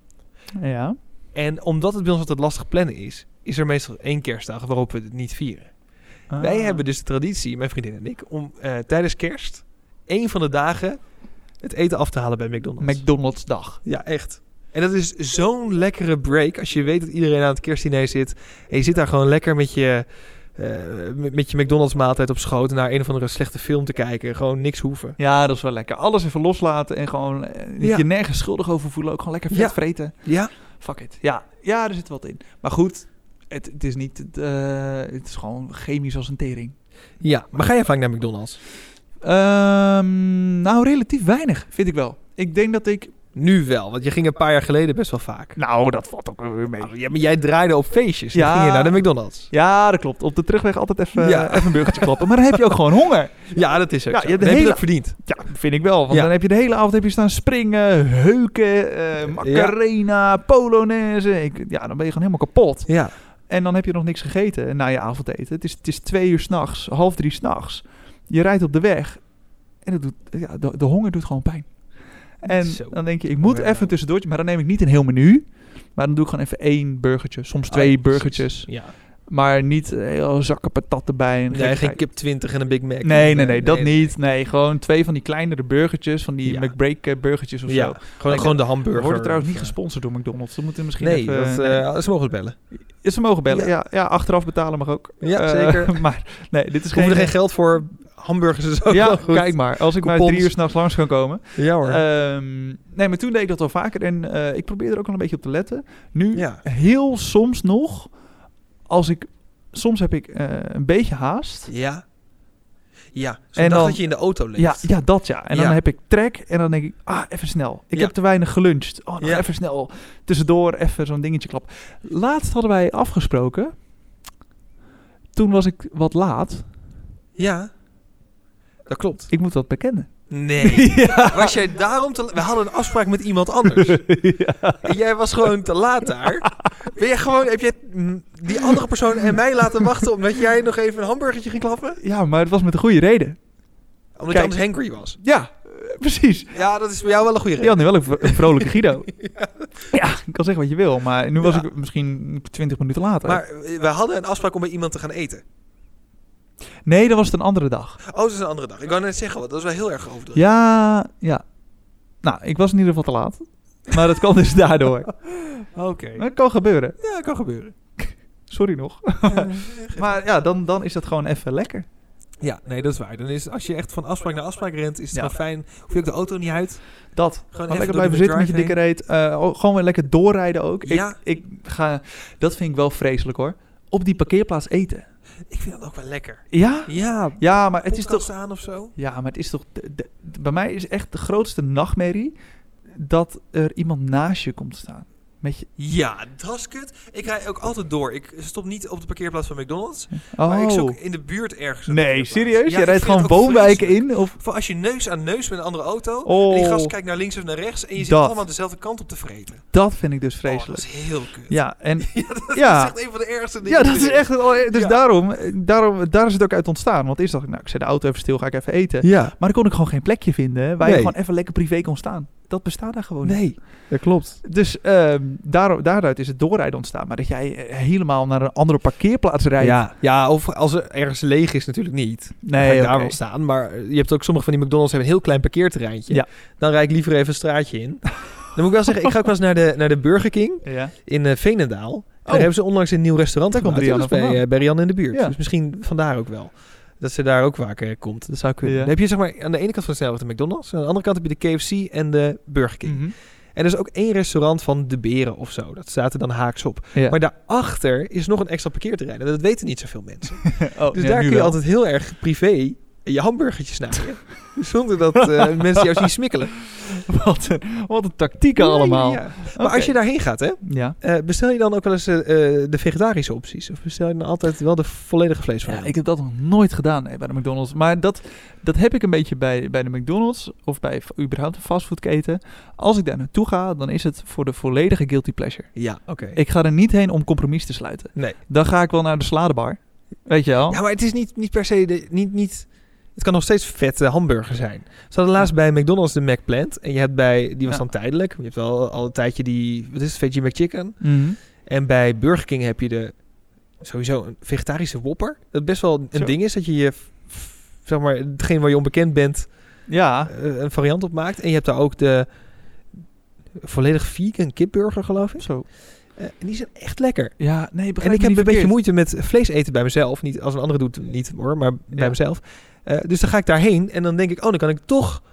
Speaker 1: ja.
Speaker 2: En omdat het bij ons altijd lastig plannen is... is er meestal één kerstdag waarop we het niet vieren.
Speaker 1: Ah.
Speaker 2: Wij hebben dus de traditie, mijn vriendin en ik... om eh, tijdens kerst één van de dagen het eten af te halen bij McDonald's.
Speaker 1: McDonald's dag.
Speaker 2: Ja, echt. En dat is zo'n lekkere break als je weet dat iedereen aan het kerstdiner zit. En je zit daar gewoon lekker met je, eh, met, met je McDonald's maaltijd op schoot naar een of andere slechte film te kijken. Gewoon niks hoeven.
Speaker 1: Ja, dat is wel lekker. Alles even loslaten en gewoon eh,
Speaker 2: Ja.
Speaker 1: je nergens schuldig over voelen. Ook gewoon lekker vet
Speaker 2: Ja.
Speaker 1: vreten.
Speaker 2: Ja.
Speaker 1: Fuck it. Ja, ja, er zit wat in. Maar goed, het, het is niet... Het, eh, het is gewoon chemisch als een tering.
Speaker 2: Ja, maar ga jij vaak naar McDonald's?
Speaker 1: Ehm, nou, relatief weinig, vind ik wel. Ik denk dat ik...
Speaker 2: Nu wel, want je ging een paar jaar geleden best wel vaak.
Speaker 1: Nou, dat valt ook weer mee.
Speaker 2: Ja, maar jij draaide op feestjes. Ja.
Speaker 1: Ja.
Speaker 2: Dan ging je naar de McDonald's.
Speaker 1: Ja, dat klopt. Op de terugweg altijd even,
Speaker 2: Ja.
Speaker 1: even een burgertje klappen. Maar dan heb je ook gewoon honger.
Speaker 2: Ja, dat is ook
Speaker 1: Ja,
Speaker 2: zo.
Speaker 1: je hebt
Speaker 2: Dan
Speaker 1: de
Speaker 2: heb
Speaker 1: hele-
Speaker 2: dat verdiend.
Speaker 1: Ja, vind ik wel. Want
Speaker 2: Ja.
Speaker 1: dan heb je de hele avond heb je staan springen, heuken, eh macarena, polonaise. Ik, ja, dan ben je gewoon helemaal kapot.
Speaker 2: Ja.
Speaker 1: En dan heb je nog niks gegeten na je avondeten. Het is, het is twee uur s'nachts, half drie s'nachts. Je rijdt op de weg En het doet, ja, de, de honger doet gewoon pijn. En
Speaker 2: Zo.
Speaker 1: dan denk je, ik moet
Speaker 2: Ja.
Speaker 1: even een tussendoortje, maar dan neem ik niet een heel menu. Maar dan doe ik gewoon even één burgertje, soms twee burgertjes.
Speaker 2: Ja.
Speaker 1: Maar niet eh, heel zakken patat erbij. En
Speaker 2: Nee, geen
Speaker 1: gekkigheid.
Speaker 2: kip 20 en een Big Mac.
Speaker 1: Nee, nee, nee, dat niet. Nee, gewoon twee van die kleinere burgertjes, van die
Speaker 2: Ja.
Speaker 1: McBreak eh, burgertjes of
Speaker 2: Ja,
Speaker 1: zo.
Speaker 2: gewoon, gewoon de hamburger.
Speaker 1: We worden trouwens niet
Speaker 2: of, eh,
Speaker 1: gesponsord door McDonald's. Ze moeten misschien
Speaker 2: Nee,
Speaker 1: even...
Speaker 2: dat,
Speaker 1: nee.
Speaker 2: eh, ze mogen het bellen.
Speaker 1: Ze mogen bellen.
Speaker 2: Ja.
Speaker 1: Ja. Ja, achteraf betalen mag ook.
Speaker 2: Ja,
Speaker 1: Eh,
Speaker 2: zeker.
Speaker 1: Maar nee, dit is
Speaker 2: Ze hoeven er
Speaker 1: geen...
Speaker 2: geen geld voor. Hamburgers is ook
Speaker 1: ja,
Speaker 2: wel goed.
Speaker 1: kijk maar. Als ik maar
Speaker 2: Coupons.
Speaker 1: drie uur s'nachts langs kan komen.
Speaker 2: Ja hoor.
Speaker 1: Ehm, nee, maar toen deed ik dat al vaker. En eh, ik probeer er ook al een beetje op te letten. Nu
Speaker 2: ja.
Speaker 1: heel soms nog, als ik... Soms heb ik eh, een beetje haast.
Speaker 2: Ja. Ja. Zo'n
Speaker 1: En
Speaker 2: dag
Speaker 1: dan-
Speaker 2: dat je in de auto leeft.
Speaker 1: Ja, ja, dat ja. En dan
Speaker 2: Ja.
Speaker 1: heb ik trek en dan denk ik, ah, even snel. Ik
Speaker 2: Ja.
Speaker 1: heb te weinig geluncht. Oh, nog
Speaker 2: Ja.
Speaker 1: even snel. Tussendoor even zo'n dingetje klap. Laatst hadden wij afgesproken. Toen was ik wat laat.
Speaker 2: Ja. Dat klopt.
Speaker 1: Ik moet dat bekennen.
Speaker 2: Nee. Was jij daarom te... We hadden een afspraak met iemand anders. En jij was gewoon te laat daar. Ben jij gewoon... Heb jij mm, die andere persoon en mij laten wachten... omdat jij nog even een hamburgertje ging klappen?
Speaker 1: Ja, maar het was met een goede reden.
Speaker 2: Omdat je
Speaker 1: Kijk.
Speaker 2: anders hangry was.
Speaker 1: Ja, eh, precies.
Speaker 2: Ja, dat is bij jou wel een goede
Speaker 1: Je
Speaker 2: reden.
Speaker 1: had nu wel een vro- een vrolijke Guido. ja. ik kan zeggen wat je wil, maar nu was
Speaker 2: Ja.
Speaker 1: ik misschien 20 minuten later.
Speaker 2: Maar eh, we hadden een afspraak om bij iemand te gaan eten.
Speaker 1: nee, dan was het een andere dag.
Speaker 2: Oh, dat is een andere dag. Ik wou net zeggen, want dat is wel heel erg overdreven.
Speaker 1: Ja, ja. Nou, ik was in ieder geval te laat. Maar dat kan dus daardoor.
Speaker 2: Oké.
Speaker 1: Maar het kan gebeuren.
Speaker 2: Ja, kan gebeuren.
Speaker 1: Sorry nog. maar ja, dan, dan is dat gewoon even lekker.
Speaker 2: Ja, nee, dat is waar. Dan is, als je echt van afspraak naar afspraak rent, is het
Speaker 1: Ja.
Speaker 2: gewoon fijn. Hoef je ook de auto niet uit.
Speaker 1: Dat.
Speaker 2: Gewoon
Speaker 1: Gewoon lekker
Speaker 2: door
Speaker 1: blijven
Speaker 2: die
Speaker 1: zitten met je dikke
Speaker 2: McDrive
Speaker 1: reet. Eh, oh, gewoon weer lekker doorrijden ook.
Speaker 2: Ja.
Speaker 1: Ik, ik ga, dat vind ik wel vreselijk hoor. Op die parkeerplaats eten.
Speaker 2: heen. Ik vind dat ook wel lekker.
Speaker 1: Ja?
Speaker 2: Ja,
Speaker 1: Ja, maar het is toch...
Speaker 2: aan of zo?
Speaker 1: Ja, maar het is toch... de- de- de- bij mij is echt de grootste nachtmerrie... dat er iemand naast je komt staan. Met je...
Speaker 2: Ja, dat is kut. Ik rij ook altijd door. Ik stop niet op de parkeerplaats van McDonald's.
Speaker 1: Oh.
Speaker 2: Maar ik zoek in de buurt ergens. een
Speaker 1: nee,
Speaker 2: parkeerplaats.
Speaker 1: serieus?
Speaker 2: Ja,
Speaker 1: je
Speaker 2: ik
Speaker 1: rijdt
Speaker 2: vind
Speaker 1: gewoon
Speaker 2: het ook
Speaker 1: woonwijken
Speaker 2: vreselijk.
Speaker 1: in? Of...
Speaker 2: Voor als je neus aan neus met een andere auto.
Speaker 1: Oh.
Speaker 2: En die gast kijkt naar links of naar rechts. En je zit
Speaker 1: Dat.
Speaker 2: allemaal dezelfde kant op te vreten.
Speaker 1: Dat vind ik dus
Speaker 2: Oh, dat
Speaker 1: vreselijk.
Speaker 2: is heel kut.
Speaker 1: ja, en...
Speaker 2: Dat
Speaker 1: ja.
Speaker 2: is echt een van de ergste dingen.
Speaker 1: Ja, dat
Speaker 2: die
Speaker 1: is
Speaker 2: er
Speaker 1: echt. het aller- Dus
Speaker 2: Ja.
Speaker 1: daarom, daarom, daar is het ook uit ontstaan. Want eerst dacht ik, nou, ik zet de auto even stil, ga ik even eten.
Speaker 2: Ja.
Speaker 1: Maar dan kon ik gewoon geen plekje vinden waar
Speaker 2: Nee.
Speaker 1: je gewoon even lekker privé kon staan. Dat bestaat daar gewoon
Speaker 2: Oh, Nee, dat klopt.
Speaker 1: niet. Dus ehm, daarom, daaruit is het doorrijden ontstaan. Maar dat jij eh, helemaal naar een andere parkeerplaats rijdt.
Speaker 2: Ja, ja, of als er ergens leeg is natuurlijk niet. Dan ga
Speaker 1: nee,
Speaker 2: ik
Speaker 1: oké.
Speaker 2: daar wel staan. Maar eh, je hebt ook sommige van die McDonald's hebben een heel klein parkeerterreintje.
Speaker 1: Ja.
Speaker 2: Dan rijd ik liever even een straatje in. Dan moet ik wel zeggen, ik ga ook wel eens naar de, naar de Burger King
Speaker 1: Ja.
Speaker 2: in eh, Veenendaal. Daar
Speaker 1: Oh.
Speaker 2: hebben ze onlangs een nieuw restaurant
Speaker 1: Daar komt
Speaker 2: gemaakt. Dat is
Speaker 1: Rianne
Speaker 2: bij, eh, bij Rianne in de buurt.
Speaker 1: Ja.
Speaker 2: Dus misschien vandaar ook wel. Dat ze daar ook vaker eh, komt. Dat zou kunnen.
Speaker 1: Ja.
Speaker 2: Dan heb je zeg maar aan de ene kant van de snelweg de McDonald's. En aan de andere kant heb je de KFC en de Burger King.
Speaker 1: Mhm.
Speaker 2: En er is ook één restaurant van De Beren of zo. Dat staat er dan haaks op.
Speaker 1: Ja.
Speaker 2: Maar daarachter is nog een extra parkeerterrein. En dat weten niet zoveel mensen.
Speaker 1: Oh,
Speaker 2: Dus
Speaker 1: ja,
Speaker 2: daar
Speaker 1: nu
Speaker 2: kun je
Speaker 1: wel.
Speaker 2: altijd heel erg privé je hamburgertjes snijden. Zonder dat eh, mensen jou zien smikkelen.
Speaker 1: Wat een, wat een tactieken
Speaker 2: Ja, ja,
Speaker 1: allemaal.
Speaker 2: ja. Maar
Speaker 1: Oké.
Speaker 2: als je daarheen gaat, hè,
Speaker 1: Ja.
Speaker 2: eh, bestel je dan ook wel eens eh, eh, de vegetarische opties? Of bestel je dan altijd wel de volledige
Speaker 1: Ja,
Speaker 2: vleesvariant?
Speaker 1: ik heb dat nog nooit gedaan nee, bij de McDonald's. Maar dat, dat heb ik een beetje bij, bij de McDonald's of bij v- überhaupt een fastfoodketen. Als ik daar naartoe ga, dan is het voor de volledige guilty pleasure.
Speaker 2: Ja, oké.
Speaker 1: Ik ga er niet heen om compromis te sluiten.
Speaker 2: Nee.
Speaker 1: Dan ga ik wel naar de sladebar. Weet je wel?
Speaker 2: Ja, maar het is niet, niet per se... De, niet, niet, het kan nog steeds vette hamburger zijn. Ze hadden laatst bij McDonald's de McPlant. En je hebt bij... Die was
Speaker 1: Ja.
Speaker 2: dan tijdelijk. Je hebt wel al een tijdje die... Wat is het? Veggie McChicken.
Speaker 1: Mhm.
Speaker 2: En bij Burger King heb je de sowieso een vegetarische wopper. Dat best wel een
Speaker 1: Zo.
Speaker 2: ding is dat je je f- f- zeg maar hetgeen waar je onbekend bent
Speaker 1: Ja.
Speaker 2: eh, een variant op maakt. En je hebt daar ook de volledig vegan kipburger geloof ik.
Speaker 1: Zo.
Speaker 2: Eh, en die zijn echt lekker.
Speaker 1: Ja, nee,
Speaker 2: En
Speaker 1: begrijp
Speaker 2: ik
Speaker 1: me
Speaker 2: heb
Speaker 1: niet
Speaker 2: een beetje
Speaker 1: verkeerd.
Speaker 2: moeite met vlees eten bij mezelf. Niet als een andere doet niet hoor, maar bij
Speaker 1: Ja.
Speaker 2: mezelf. Eh, dus dan ga ik daarheen en dan denk ik, oh, dan kan ik toch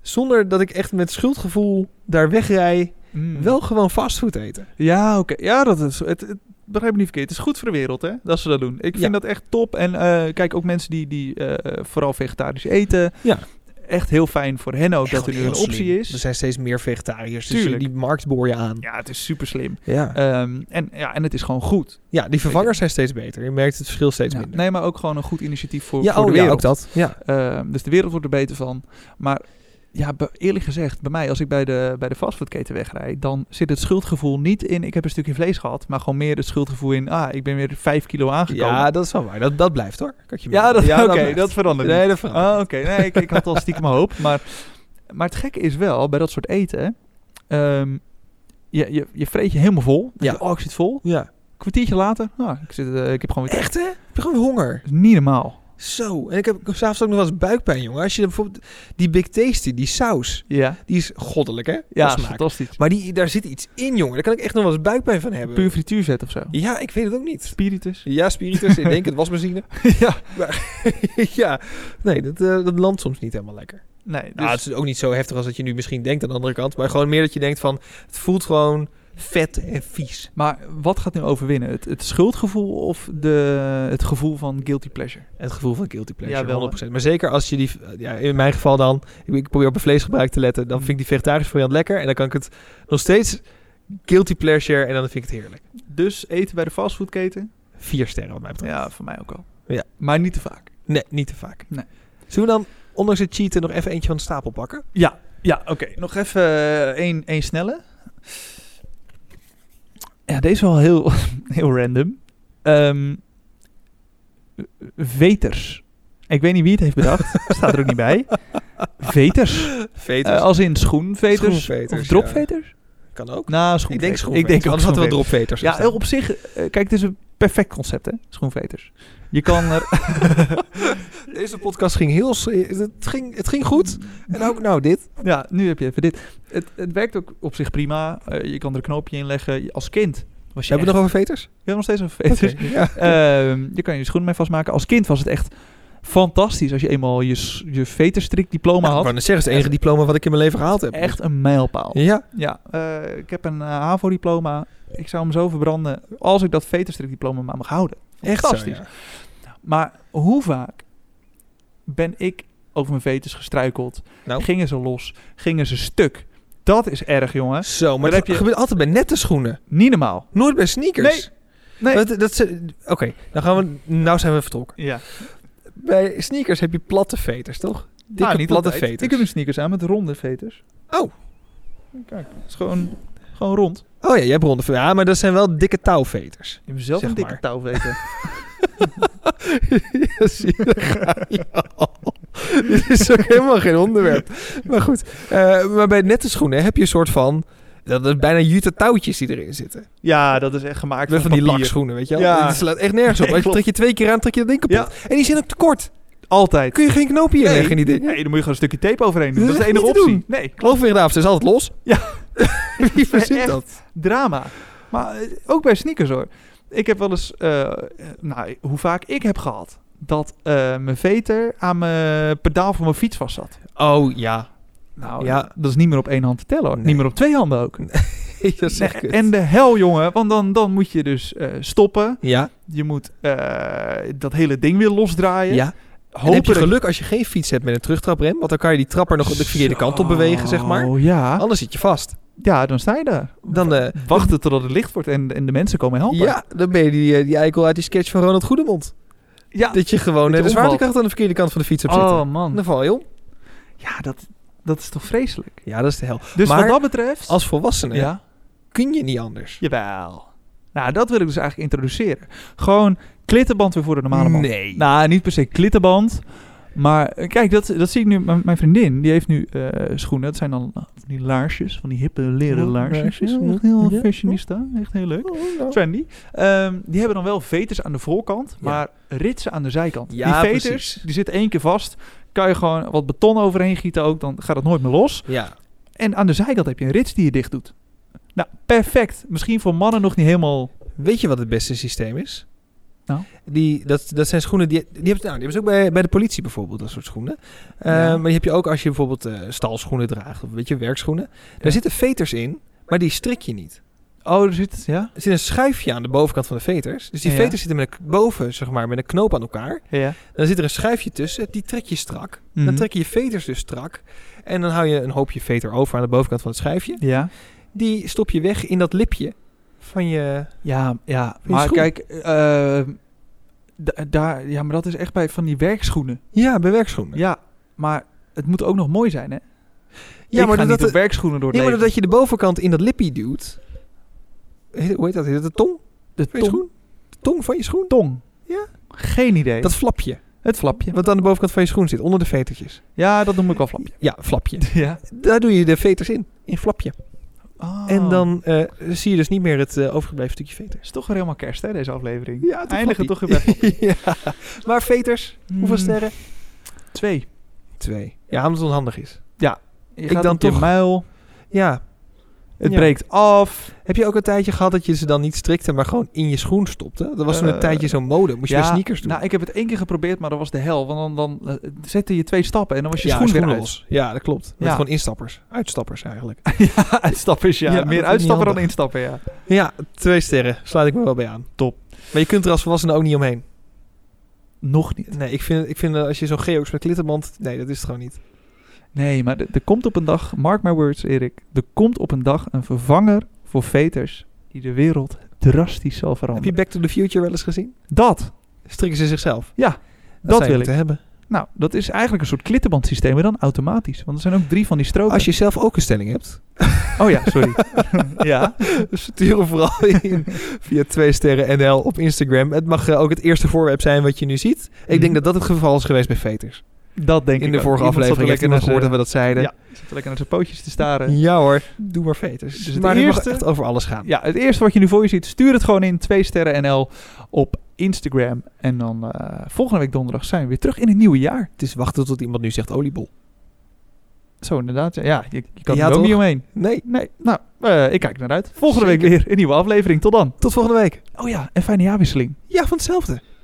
Speaker 2: zonder dat ik echt met schuldgevoel daar wegrij,
Speaker 1: Mm.
Speaker 2: wel gewoon fastfood eten.
Speaker 1: Ja, oké. Ja, dat is. Het, het, begrijp me niet verkeerd. Het is goed voor de wereld, hè? Dat ze dat doen. Ik vind
Speaker 2: Ja.
Speaker 1: dat echt top. En eh, kijk, ook mensen die, die eh, vooral vegetarisch eten.
Speaker 2: Ja.
Speaker 1: Echt heel fijn voor hen ook
Speaker 2: Echt
Speaker 1: dat er nu
Speaker 2: heel
Speaker 1: een optie
Speaker 2: slim. Er
Speaker 1: is.
Speaker 2: zijn steeds meer vegetariërs,
Speaker 1: Tuurlijk.
Speaker 2: dus die markt boor je aan.
Speaker 1: Ja, het is super slim.
Speaker 2: Ja,
Speaker 1: Ehm, en, ja, en het is gewoon goed.
Speaker 2: ja die vervangers zijn steeds beter. Je merkt het verschil steeds
Speaker 1: Ja.
Speaker 2: minder.
Speaker 1: Nee, maar ook gewoon een goed initiatief voor,
Speaker 2: ja,
Speaker 1: voor
Speaker 2: oh,
Speaker 1: de
Speaker 2: ja,
Speaker 1: wereld.
Speaker 2: ook dat. Ja.
Speaker 1: Ehm, dus de wereld wordt er beter van. Maar ja, be- eerlijk gezegd, bij mij, als ik bij de, bij de fastfoodketen wegrijd, dan zit het schuldgevoel niet in ik heb een stukje vlees gehad, maar gewoon meer het schuldgevoel in ah, ik ben weer vijf kilo aangekomen.
Speaker 2: Ja, dat is wel waar. Dat, dat blijft hoor. Katje
Speaker 1: Ja, dat,
Speaker 2: melk.
Speaker 1: oké,
Speaker 2: blijft.
Speaker 1: dat verandert niet.
Speaker 2: Nee, dat verandert.
Speaker 1: Ah, oké. Nee, ik, ik had al stiekem hoop. Maar, maar het gekke is wel, bij dat soort eten, ehm, je, je, je vreet je helemaal vol. Dan
Speaker 2: Ja.
Speaker 1: denk je, oh, ik zit vol.
Speaker 2: Ja.
Speaker 1: kwartiertje later, nou, ik, zit, eh, ik heb gewoon weer...
Speaker 2: Echt hè? Ik heb gewoon honger.
Speaker 1: Dat is niet normaal.
Speaker 2: Zo. En ik heb s'avonds ook nog wel eens buikpijn, jongen. Als je bijvoorbeeld die Big Tasty, die saus,
Speaker 1: Ja,
Speaker 2: die is goddelijk hè?
Speaker 1: ja
Speaker 2: Qua
Speaker 1: dat is
Speaker 2: smaak.
Speaker 1: fantastisch.
Speaker 2: Maar die, daar zit iets in, jongen. Daar kan ik echt nog wel eens buikpijn van hebben.
Speaker 1: Puur frituurzet of zo.
Speaker 2: Ja, ik weet het ook niet.
Speaker 1: Spiritus.
Speaker 2: Ja, spiritus, ik denk het, wasmachine.
Speaker 1: ja.
Speaker 2: ja, nee, dat, eh, dat landt soms niet helemaal lekker.
Speaker 1: Nee, dus,
Speaker 2: Nou, het is ook niet zo heftig als dat je nu misschien denkt aan de andere kant. Maar gewoon meer dat je denkt van, het voelt gewoon vet en vies.
Speaker 1: maar wat gaat nu overwinnen? Het, het schuldgevoel of de, het gevoel van guilty pleasure?
Speaker 2: Het gevoel van guilty pleasure,
Speaker 1: Ja, wel, hè?
Speaker 2: 100%. Maar zeker als je die, ja, in mijn geval dan, ik- ik probeer op mijn vleesgebruik te letten. Dan vind ik die vegetarische variant lekker. En dan kan ik het nog steeds guilty pleasure en dan vind ik het heerlijk.
Speaker 1: Dus eten bij de fastfoodketen?
Speaker 2: Vier sterren wat mij betreft.
Speaker 1: Ja, voor mij ook al.
Speaker 2: Ja.
Speaker 1: Maar niet te vaak.
Speaker 2: Nee, niet te vaak.
Speaker 1: Nee.
Speaker 2: Zullen we dan, ondanks het cheaten, nog even eentje van de stapel pakken?
Speaker 1: Ja, ja oké. Nog even eh, één, één snelle. Ja, deze is wel heel, heel random. Ehm, veters. Ik weet niet wie het heeft bedacht. staat er ook niet bij. Veters.
Speaker 2: Veters.
Speaker 1: Eh, als in schoenveters.
Speaker 2: Schoenveters,
Speaker 1: of dropveters?
Speaker 2: kan ook.
Speaker 1: Nou, schoenveters.
Speaker 2: Ik denk schoenveters.
Speaker 1: Ik denk ook
Speaker 2: Anders hadden we
Speaker 1: schoenveters.
Speaker 2: dropveters.
Speaker 1: Ja,
Speaker 2: gestaan.
Speaker 1: op zich, eh, kijk, het is een perfect concept, hè? Schoenveters. Je kan er...
Speaker 2: Deze podcast ging heel... s- eh, Het ging, het ging goed. En ook nou dit.
Speaker 1: ja, nu heb je even dit. Het, het werkt ook op zich prima. Eh, je kan er een knoopje in leggen. Je- Als kind was je
Speaker 2: Hebben we nog over veters?
Speaker 1: nog... nog steeds een veters.
Speaker 2: Ja.
Speaker 1: Ehm, je kan je schoenen mee vastmaken. Als kind was het echt fantastisch als je eenmaal je, s- je veterstrik diploma
Speaker 2: ik
Speaker 1: had.
Speaker 2: wou net zeggen, het is het enige diploma wat ik in mijn leven gehaald heb.
Speaker 1: Echt een mijlpaal.
Speaker 2: Ja.
Speaker 1: Ja, eh, ik heb een eh, HAVO-diploma. Ik zou hem zo verbranden als ik dat veterstrikdiploma maar mag houden.
Speaker 2: Echt
Speaker 1: Fantastisch.
Speaker 2: zo, ja.
Speaker 1: Maar hoe vaak ben ik over mijn veters gestruikeld?
Speaker 2: Nou.
Speaker 1: Gingen ze los? Gingen ze stuk? Dat is erg, jongen.
Speaker 2: Zo, maar
Speaker 1: Dan
Speaker 2: dat
Speaker 1: heb je-
Speaker 2: gebeurt altijd bij nette schoenen.
Speaker 1: Niet normaal.
Speaker 2: Nooit bij sneakers.
Speaker 1: Nee.
Speaker 2: Dat, dat ze- Oké, dan gaan we... Nou zijn we vertrokken.
Speaker 1: Ja.
Speaker 2: Bij sneakers heb je platte veters, toch? Dikke
Speaker 1: Ah,
Speaker 2: platte
Speaker 1: altijd.
Speaker 2: veters.
Speaker 1: Ik heb een sneakers aan met ronde veters.
Speaker 2: Oh.
Speaker 1: Kijk, het is gewoon, gewoon rond.
Speaker 2: Oh ja, jij hebt ronde veters. Ja, maar dat zijn wel dikke touwveters.
Speaker 1: Je hebt zelf
Speaker 2: Zeg
Speaker 1: een dikke
Speaker 2: maar.
Speaker 1: touwveten.
Speaker 2: Ja, zie je, daar ga je al. Dit is ook helemaal geen onderwerp. Maar goed, eh, maar bij nette schoenen heb je een soort van... Dat is bijna jute touwtjes die erin zitten.
Speaker 1: ja, dat is echt gemaakt
Speaker 2: Met van die lakschoenen, weet je wel.
Speaker 1: Ja.
Speaker 2: Ja. slaat echt nergens op.
Speaker 1: Nee,
Speaker 2: Als je
Speaker 1: klopt.
Speaker 2: trek je twee keer aan, trek je dat ding kapot.
Speaker 1: Ja.
Speaker 2: En die zijn ook te kort.
Speaker 1: Altijd.
Speaker 2: Kun je geen knoopje in
Speaker 1: Nee.
Speaker 2: leggen in die dingen.
Speaker 1: Nee, dan moet je gewoon een stukje tape overheen doen.
Speaker 2: Dat
Speaker 1: Dat is
Speaker 2: is
Speaker 1: de enige
Speaker 2: niet te
Speaker 1: optie.
Speaker 2: doen.
Speaker 1: Nee,
Speaker 2: Kloofweerdaafd is altijd los.
Speaker 1: Ja.
Speaker 2: Wie verzint
Speaker 1: Echt.
Speaker 2: dat?
Speaker 1: drama. Maar eh, ook bij sneakers hoor. Ik heb wel eens, eh, eh, nou, hoe vaak ik heb gehad dat eh, mijn veter aan mijn pedaal van mijn fiets vast zat.
Speaker 2: Oh ja.
Speaker 1: Nou,
Speaker 2: Ja.
Speaker 1: dat is niet meer op één hand te tellen hoor.
Speaker 2: Nee.
Speaker 1: Niet meer op twee handen ook.
Speaker 2: dat is echt
Speaker 1: Nee,
Speaker 2: kut.
Speaker 1: en de hel jongen, want dan, dan moet je dus eh, stoppen.
Speaker 2: ja,
Speaker 1: Je moet eh, dat hele ding weer losdraaien.
Speaker 2: ja. En
Speaker 1: Hopen
Speaker 2: heb je
Speaker 1: dat-
Speaker 2: geluk als je geen fiets hebt met een terugtraprem. Want dan kan je die trapper nog de verkeerde kant
Speaker 1: Zo,
Speaker 2: op bewegen, zeg
Speaker 1: Oh.
Speaker 2: maar.
Speaker 1: ja.
Speaker 2: Anders zit je vast.
Speaker 1: ja, dan sta je daar.
Speaker 2: Dan, eh,
Speaker 1: Wachten totdat het licht wordt en, en de mensen komen helpen.
Speaker 2: Ja, dan ben je die, eh, die eikel uit die sketch van Ronald Goedemond.
Speaker 1: ja.
Speaker 2: Dat je gewoon eh,
Speaker 1: Dat
Speaker 2: de
Speaker 1: je omvalt.
Speaker 2: zwaartekracht aan de verkeerde kant van de fiets hebt
Speaker 1: Oh
Speaker 2: zitten.
Speaker 1: man,
Speaker 2: Dan val je om.
Speaker 1: ja, dat, dat is toch vreselijk.
Speaker 2: Ja, dat is de hel.
Speaker 1: Dus
Speaker 2: Maar
Speaker 1: wat dat betreft...
Speaker 2: Als volwassene
Speaker 1: ja.
Speaker 2: kun je niet anders.
Speaker 1: Jawel. Nou, dat wil ik dus eigenlijk introduceren. Gewoon klittenband weer voor de normale man.
Speaker 2: Nee.
Speaker 1: Nou, niet per se klittenband. Maar eh, kijk, dat, dat zie ik nu. Mijn, mijn vriendin, die heeft nu eh, schoenen. Dat zijn dan eh, van die laarsjes. Van die hippe leren
Speaker 2: Ja,
Speaker 1: laarsjes.
Speaker 2: laarsjes,
Speaker 1: Ja,
Speaker 2: ja.
Speaker 1: echt heel
Speaker 2: Ja. Oh.
Speaker 1: fashionista. Echt heel leuk.
Speaker 2: nou.
Speaker 1: Trendy. Ehm, die hebben dan wel veters aan de voorkant.
Speaker 2: Ja.
Speaker 1: Maar ritsen aan de zijkant.
Speaker 2: Ja,
Speaker 1: die veters,
Speaker 2: precies.
Speaker 1: die zitten één keer vast. Kan je gewoon wat beton overheen gieten ook. Dan gaat het nooit meer los.
Speaker 2: Ja.
Speaker 1: En aan de zijkant heb je een rits die je dicht doet. Nou, perfect. Misschien voor mannen nog niet helemaal.
Speaker 2: Weet je wat het beste systeem is?
Speaker 1: Nou?
Speaker 2: Die, dat, dat zijn schoenen die, die, hebben, ze- nou, die hebben ze ook bij, bij de politie bijvoorbeeld, dat soort schoenen. Eh,
Speaker 1: Ja.
Speaker 2: Maar die heb je ook als je bijvoorbeeld eh, stalschoenen draagt of weet je, werkschoenen. Daar zitten veters in, maar die strik je niet.
Speaker 1: Oh, er zit. Ja?
Speaker 2: Er zit een schuifje aan de bovenkant van de veters. Dus die
Speaker 1: Ja.
Speaker 2: veters zitten met een, boven, zeg maar, met een knoop aan elkaar.
Speaker 1: Ja.
Speaker 2: Dan zit er een schuifje tussen, die trek je strak.
Speaker 1: Mhm.
Speaker 2: Dan trek je je veters dus strak. En dan hou je een hoopje veter over aan de bovenkant van het schuifje.
Speaker 1: Ja.
Speaker 2: Die stop je weg in dat lipje van je...
Speaker 1: Ja, ja.
Speaker 2: je
Speaker 1: Maar
Speaker 2: schoen?
Speaker 1: kijk, eh, da- daar, ja, maar dat is echt bij van die werkschoenen.
Speaker 2: Ja, bij werkschoenen.
Speaker 1: Ja, maar het moet ook nog mooi zijn, hè? Ja, maar
Speaker 2: dat,
Speaker 1: niet
Speaker 2: dat-
Speaker 1: op werkschoenen door het
Speaker 2: ja, maar
Speaker 1: leven.
Speaker 2: dat je de bovenkant in dat lippie duwt. Heet- Hoe heet dat? Heet dat de tong
Speaker 1: De
Speaker 2: van
Speaker 1: tong.
Speaker 2: je schoen? De tong van je schoen?
Speaker 1: tong.
Speaker 2: Ja?
Speaker 1: Geen idee.
Speaker 2: Dat flapje.
Speaker 1: het flapje.
Speaker 2: Wat aan de bovenkant van je schoen zit, onder de vetertjes.
Speaker 1: Ja, dat noem ik wel flapje.
Speaker 2: Ja, flapje.
Speaker 1: Ja.
Speaker 2: Daar doe je de veters in. In flapje.
Speaker 1: Oh.
Speaker 2: En dan eh, zie je dus niet meer het eh, overgebleven stukje veter.
Speaker 1: is toch weer helemaal kerst, hè, deze aflevering.
Speaker 2: Ja, toch
Speaker 1: Eindigen toch
Speaker 2: flappie.
Speaker 1: weer bij
Speaker 2: ja. Maar veters, hoeveel
Speaker 1: Hmm,
Speaker 2: sterren?
Speaker 1: Twee.
Speaker 2: Twee. Ja, omdat het onhandig is.
Speaker 1: Je
Speaker 2: Ik
Speaker 1: gaat
Speaker 2: dan
Speaker 1: op je
Speaker 2: toch-
Speaker 1: muil.
Speaker 2: Ja.
Speaker 1: Het
Speaker 2: Ja.
Speaker 1: breekt af.
Speaker 2: Heb je ook een tijdje gehad dat je ze dan niet strikte, maar gewoon in je schoen stopte? Dat was toen een
Speaker 1: Eh,
Speaker 2: tijdje zo'n mode. Moest je
Speaker 1: ja,
Speaker 2: weer sneakers doen.
Speaker 1: Nou, ik heb het één keer geprobeerd, maar dat was de hel. Want dan, dan eh, zette je twee stappen en dan was je
Speaker 2: ja,
Speaker 1: schoen weer
Speaker 2: schoenen
Speaker 1: uit.
Speaker 2: los. Ja, dat klopt. Met
Speaker 1: Ja.
Speaker 2: gewoon instappers. Uitstappers eigenlijk.
Speaker 1: ja, uitstappen is ja.
Speaker 2: Ja, dat is
Speaker 1: Meer
Speaker 2: niet
Speaker 1: uitstappen dan
Speaker 2: handig.
Speaker 1: instappen, ja.
Speaker 2: Ja, twee sterren. Sluit ik me wel bij aan.
Speaker 1: Top.
Speaker 2: Maar je kunt er als volwassene ook niet omheen.
Speaker 1: Nog niet.
Speaker 2: Nee, ik vind, ik vind eh, als je zo'n geox met klittenband... Nee, dat is het gewoon niet.
Speaker 1: Nee, maar er er komt op een dag, mark my words Erik, er komt op een dag een vervanger voor veters die de wereld drastisch zal
Speaker 2: Heb je
Speaker 1: veranderen.
Speaker 2: Back to the Future wel eens gezien?
Speaker 1: Dat,
Speaker 2: Strikken ze zichzelf.
Speaker 1: Ja,
Speaker 2: dat,
Speaker 1: dat
Speaker 2: zou je
Speaker 1: wil
Speaker 2: moeten hebben.
Speaker 1: nou, dat is eigenlijk een soort klittenbandsysteem, maar dan automatisch. Want er zijn ook drie van die stroken.
Speaker 2: Als je zelf ook een stelling hebt,
Speaker 1: Oh ja, sorry. ja.
Speaker 2: stuur hem vooral in via 2 sterren NL op Instagram. Het mag eh, ook het eerste voorwerp zijn wat je nu ziet. Ik
Speaker 1: Mhm.
Speaker 2: denk dat dat het geval is geweest bij Veters.
Speaker 1: Dat denk ik
Speaker 2: In de
Speaker 1: ook.
Speaker 2: vorige
Speaker 1: Iemand zat er
Speaker 2: aflevering heeft iemand gehoord dat
Speaker 1: naar
Speaker 2: we dat zeiden.
Speaker 1: Ja. zijn- zat er lekker naar zijn pootjes te staren.
Speaker 2: Ja hoor, doe maar veters.
Speaker 1: Dus het
Speaker 2: maar het
Speaker 1: eerste-
Speaker 2: mag echt over alles gaan.
Speaker 1: Ah. Ja, het eerste wat je nu voor je ziet, stuur het gewoon in 2 sterren NL op Instagram. En dan eh, volgende week donderdag zijn we weer terug in het nieuwe jaar.
Speaker 2: Het is wachten tot iemand nu zegt oliebol.
Speaker 1: Zo inderdaad. Ja, Ja, je, je kan
Speaker 2: Ja,
Speaker 1: er ook
Speaker 2: toch?
Speaker 1: niet omheen.
Speaker 2: Nee,
Speaker 1: Nee, nou, eh, ik kijk er naar uit. Volgende
Speaker 2: Zeker.
Speaker 1: week weer een nieuwe aflevering. Tot dan.
Speaker 2: tot volgende week.
Speaker 1: Oh ja, en fijne jaarwisseling.
Speaker 2: Ja, van hetzelfde.